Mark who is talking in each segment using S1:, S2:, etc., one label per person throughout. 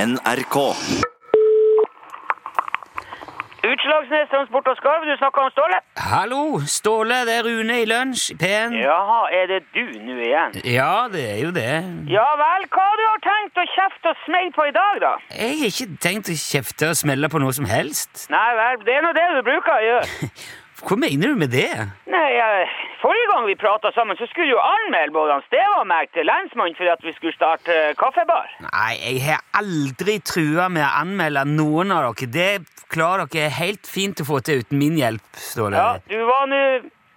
S1: NRK.
S2: Utslagsnes Transport og Skarv, du snakker om Ståle?
S3: Hallo, Ståle, det er Rune i lunsj, P1.
S2: Jaha, er det du nå igjen?
S3: Ja, det er jo det.
S2: Ja vel, hva du har tenkt å kjefte og smelle på i dag, da?
S3: Jeg har ikke tenkt å kjefte og smelle på noe som helst.
S2: Nei vel, det er nå det du bruker å gjøre.
S3: Hva mener du med det?
S2: Nei, eh, forrige gang vi prata sammen, så skulle du anmelde både han Steve og meg til lensmannen for at vi skulle starte eh, kaffebar.
S3: Nei, jeg har aldri trua med å anmelde noen av dere. Det klarer dere helt fint å få til uten min hjelp, Ståle.
S2: Ja, du var nå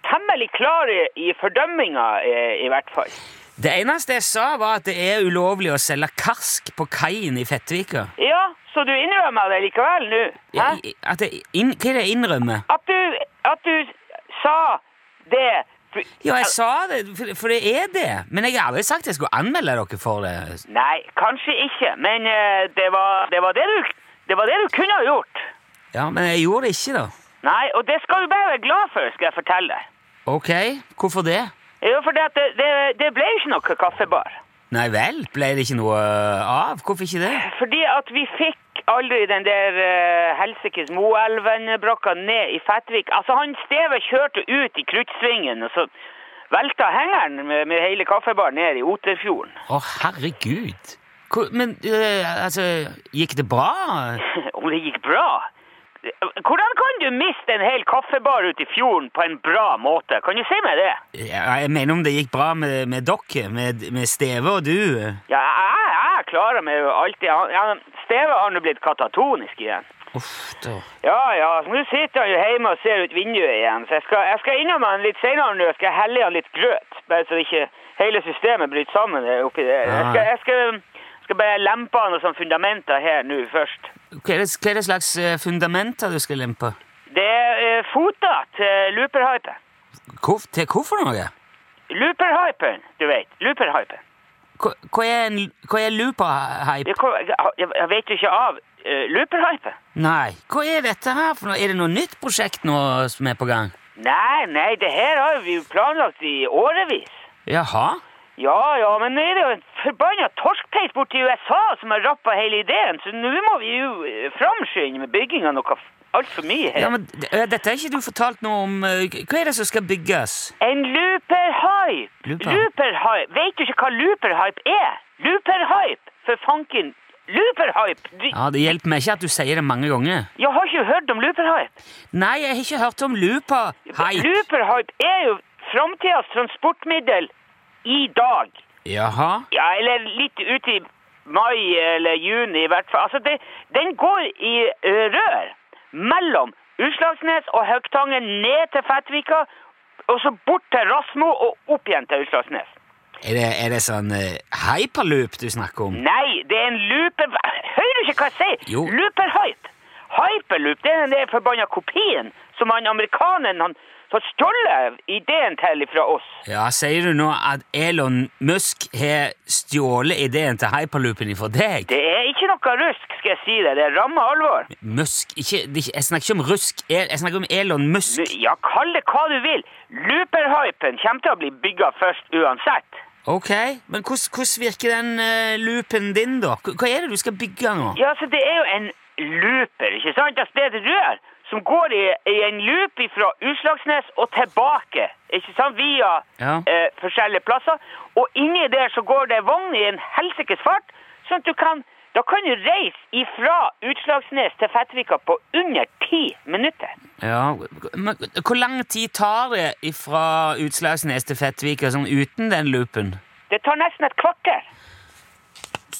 S2: temmelig klar i, i fordømminga, eh, i hvert fall.
S3: Det eneste jeg sa, var at det er ulovlig å selge karsk på kaien i Fettvika.
S2: Ja, så du innrømmer det likevel nå? Hæ?
S3: Jeg, at jeg, inn, hva er det jeg innrømmer?
S2: At du, at du sa det
S3: Ja, jeg sa det, for, for det er det. Men jeg har aldri sagt jeg skulle anmelde dere for det.
S2: Nei, kanskje ikke, men eh, det, var, det, var det, du, det var det du kunne ha gjort.
S3: Ja, Men jeg gjorde det ikke, da.
S2: Nei, og det skal du bare være glad for, skal jeg fortelle deg.
S3: Ok, hvorfor det?
S2: Jo, for det, at det, det, det ble ikke noe kaffebar.
S3: Nei vel, ble det ikke noe eh, av? Hvorfor ikke det?
S2: Fordi at vi fikk aldri den der uh, helsikes Moelven-brakka ned i Fettvik. Altså, han Steve kjørte ut i kruttsvingen, og så velta hengeren med, med hele kaffebaren ned i Oterfjorden.
S3: Å, herregud. Hvor, men eh, altså, gikk det bra?
S2: Om det gikk bra? Hvordan kan du miste en hel kaffebar ut i fjorden på en bra måte? Kan du si meg det?
S3: Ja, jeg mener om det gikk bra med, med dere, med, med Steve og du.
S2: Ja, jeg, jeg klarer meg jo alltid. Han- Ja, Steve har nå blitt katatonisk igjen.
S3: Uff da.
S2: Ja, ja, så nå sitter han jo hjemme og ser ut vinduet igjen, så jeg skal, jeg skal innom han litt senere nå. Jeg skal helle han litt grøt, bare så ikke hele systemet bryter sammen der oppi der. Jeg skal, jeg skal, skal bare lempe han og sånn fundamenter her nå først.
S3: Hva er det, hva er det slags eh, fundamenter du skal lempe?
S2: Det er eh, fota til looperhypen.
S3: Hvor, til hvorfor noe?
S2: Looperhypen, du vet. Looperhypen.
S3: Hva, hva er, en, hva er looper-hype?
S2: Jeg, kom- jeg- jeg, jeg vet jo ikke av uh, looperhypen.
S3: Nei, hva er dette her for noe? Er det noe nytt prosjekt nå som er på gang?
S2: Nei, nei, det her har vi jo planlagt i årevis.
S3: Jaha.
S2: Ja, ja, men nå er det jo en forbanna torskpeis borti USA som har rappa hele ideen, så nå må vi jo eh, framskynde med bygging av noe altfor mye her.
S3: Ja, men d- eh, dette har ikke du fortalt noe om. eh, Hva er det som skal bygges?
S2: En looperhype!
S3: Looper-
S2: Looperhype! Vet du ikke hva looperhype er? Looperhype! For fanken! Looperhype! Du,
S3: Ja, Det hjelper meg ikke at du sier det mange ganger.
S2: Jeg har ikke hørt om looperhype.
S3: Nei, jeg har ikke hørt om lupa. Hei.
S2: Looperhype er jo framtidas transportmiddel i dag.
S3: Jaha.
S2: Ja, eller litt ut i mai eller juni i hvert fall. Altså, det, den går i ø, rør mellom Utslagsnes og Høgtangen ned til Fettvika, og så bort til Rasmo og opp igjen til Utslagsnes.
S3: Er det, er det sånn eh, hyperloop du snakker om?
S2: Nei, det er en looper... Hører du ikke hva jeg sier?
S3: Jo.
S2: Looperhype. Hyperloop, det er den der forbanna kopien som han amerikaneren han har stjålet ideen til fra oss.
S3: Ja, Sier du nå at Elon Musk har stjålet ideen til hyperloopen ifra deg?
S2: Det er ikke noe rusk, skal jeg si deg. Det er ramme alvor.
S3: Musk ikke, det er ikke, Jeg snakker ikke om rusk. El- Jeg snakker om Elon
S2: Du,
S3: Musk.
S2: ja, kall det hva du vil. Looperhypen kommer til å bli bygga først uansett.
S3: Ok, Men hvordan hvordan virker den eh, loopen din, da? Hva hva er det du skal bygge nå?
S2: Ja, så det er jo en looper, ikke sant? Altså, det er et rør som går i, i en loop fra Utslagsnes og tilbake, ikke sant? Via
S3: Ja.
S2: eh, forskjellige plasser. Og inni der så går det vogn i en helsikes fart, sånn at du kan da kan du reise ifra Utslagsnes til Fettvika på under ti minutter.
S3: Ja, men Hvor lang tid tar det fra Utslagsnes til Fettvika sånn uten den loopen?
S2: Det tar nesten et kvarter.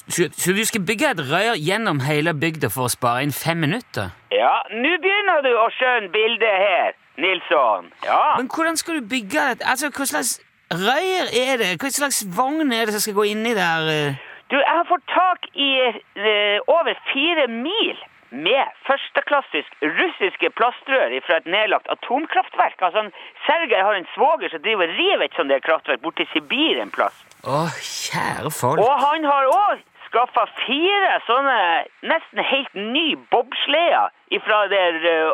S3: Så, så du skal bygge et rør gjennom hele bygda for å spare inn fem minutter?
S2: Ja, nå begynner du å skjønne bildet her, Nilsson. Ja.
S3: Men hvordan skal du bygge det? Altså, hva slags rør er det? Hva slags vogn er det som skal gå inni der? eh?
S2: Du, jeg har fått tak i eh, over fire mil med førsteklassisk russiske plastrør fra et nedlagt atomkraftverk. Altså, han- Sergej har en svoger som driver og river et sånt der kraftverk borti Sibir en plass.
S3: Å, kjære folk.
S2: Og han har òg skaffa fire sånne nesten helt ny bobsleder fra det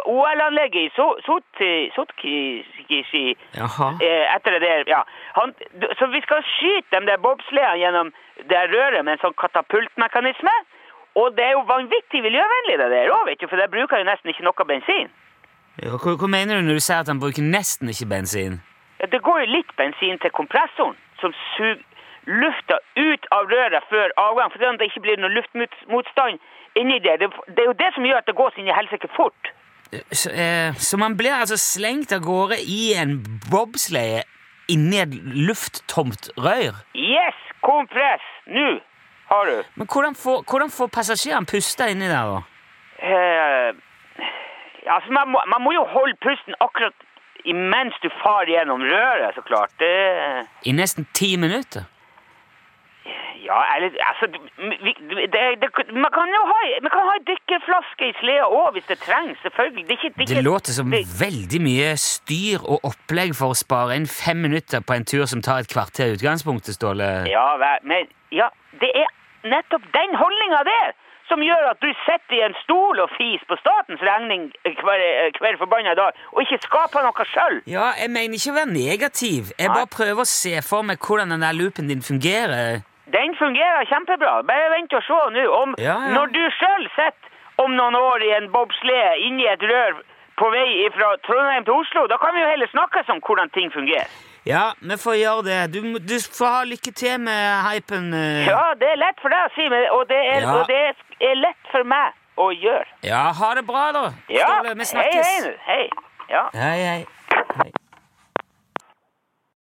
S2: OL-anlegget i So- Sot- Sotkisi
S3: Jaha.
S2: eh, etter det der, ja. Han, du- så vi skal skyte de der bobsledene gjennom det røret med en sånn katapultmekanisme. Og det er jo vanvittig miljøvennlig det der òg, vet du, for det bruker jo nesten ikke noe bensin.
S3: Ja, Hva, hva mener du når du sier at han bruker nesten ikke bensin?
S2: Ja, Det går jo litt bensin til kompressoren, som suger lufta ut av røret før avgang, fordi om det ikke blir noe luftmotstand inni det. Det det er jo det som gjør at det går sin i helsike fort.
S3: Så, eh, så man blir altså slengt av gårde i en bobsleie inni et lufttomt rør?
S2: Yes, kompress! Nå har du.
S3: Men hvordan får, hvordan får passasjeren puste inni der, da?
S2: Eh, altså, man må, man må jo holde pusten akkurat imens du far gjennom røret, så klart. Det...
S3: I nesten ti minutter?
S2: Ja, eller altså, du- vi, du- det, det, man, kan jo ha, man kan ha en dykkerflaske i sleda òg, hvis det trengs. Selvfølgelig. Det, er ikke, det, er
S3: Det
S2: ikke-
S3: låter som
S2: det-
S3: veldig mye styr og opplegg for å spare inn fem minutter på en tur som tar et kvarter i utgangspunktet, Ståle.
S2: Ja, vær- men ja, det er nettopp den holdninga der som gjør at du sitter i en stol og fis på statens regning hver, hver forbanna dag, og ikke skaper noe sjøl.
S3: Ja, jeg mener ikke å være negativ. Jeg
S2: Nei.
S3: bare prøver å se for meg hvordan den der loopen din fungerer.
S2: Den fungerer kjempebra. Bare vent og se nå. Om,
S3: Ja, ja.
S2: Når du sjøl sitter om noen år i en bobslede inni et rør på vei fra Trondheim til Oslo, da kan vi jo heller snakkes om hvordan ting fungerer.
S3: Ja, vi får gjøre det. Du, må- du får ha lykke til med hypen. eh.
S2: Ja, det er lett for deg å si, men, og, det er,
S3: Ja.
S2: og det er lett for meg å gjøre.
S3: ja ha det bra, da.
S2: Ja,
S3: Ståle, vi
S2: hei,
S3: snakkes.
S2: hei, nå. hei. Ja.
S3: hei, hei.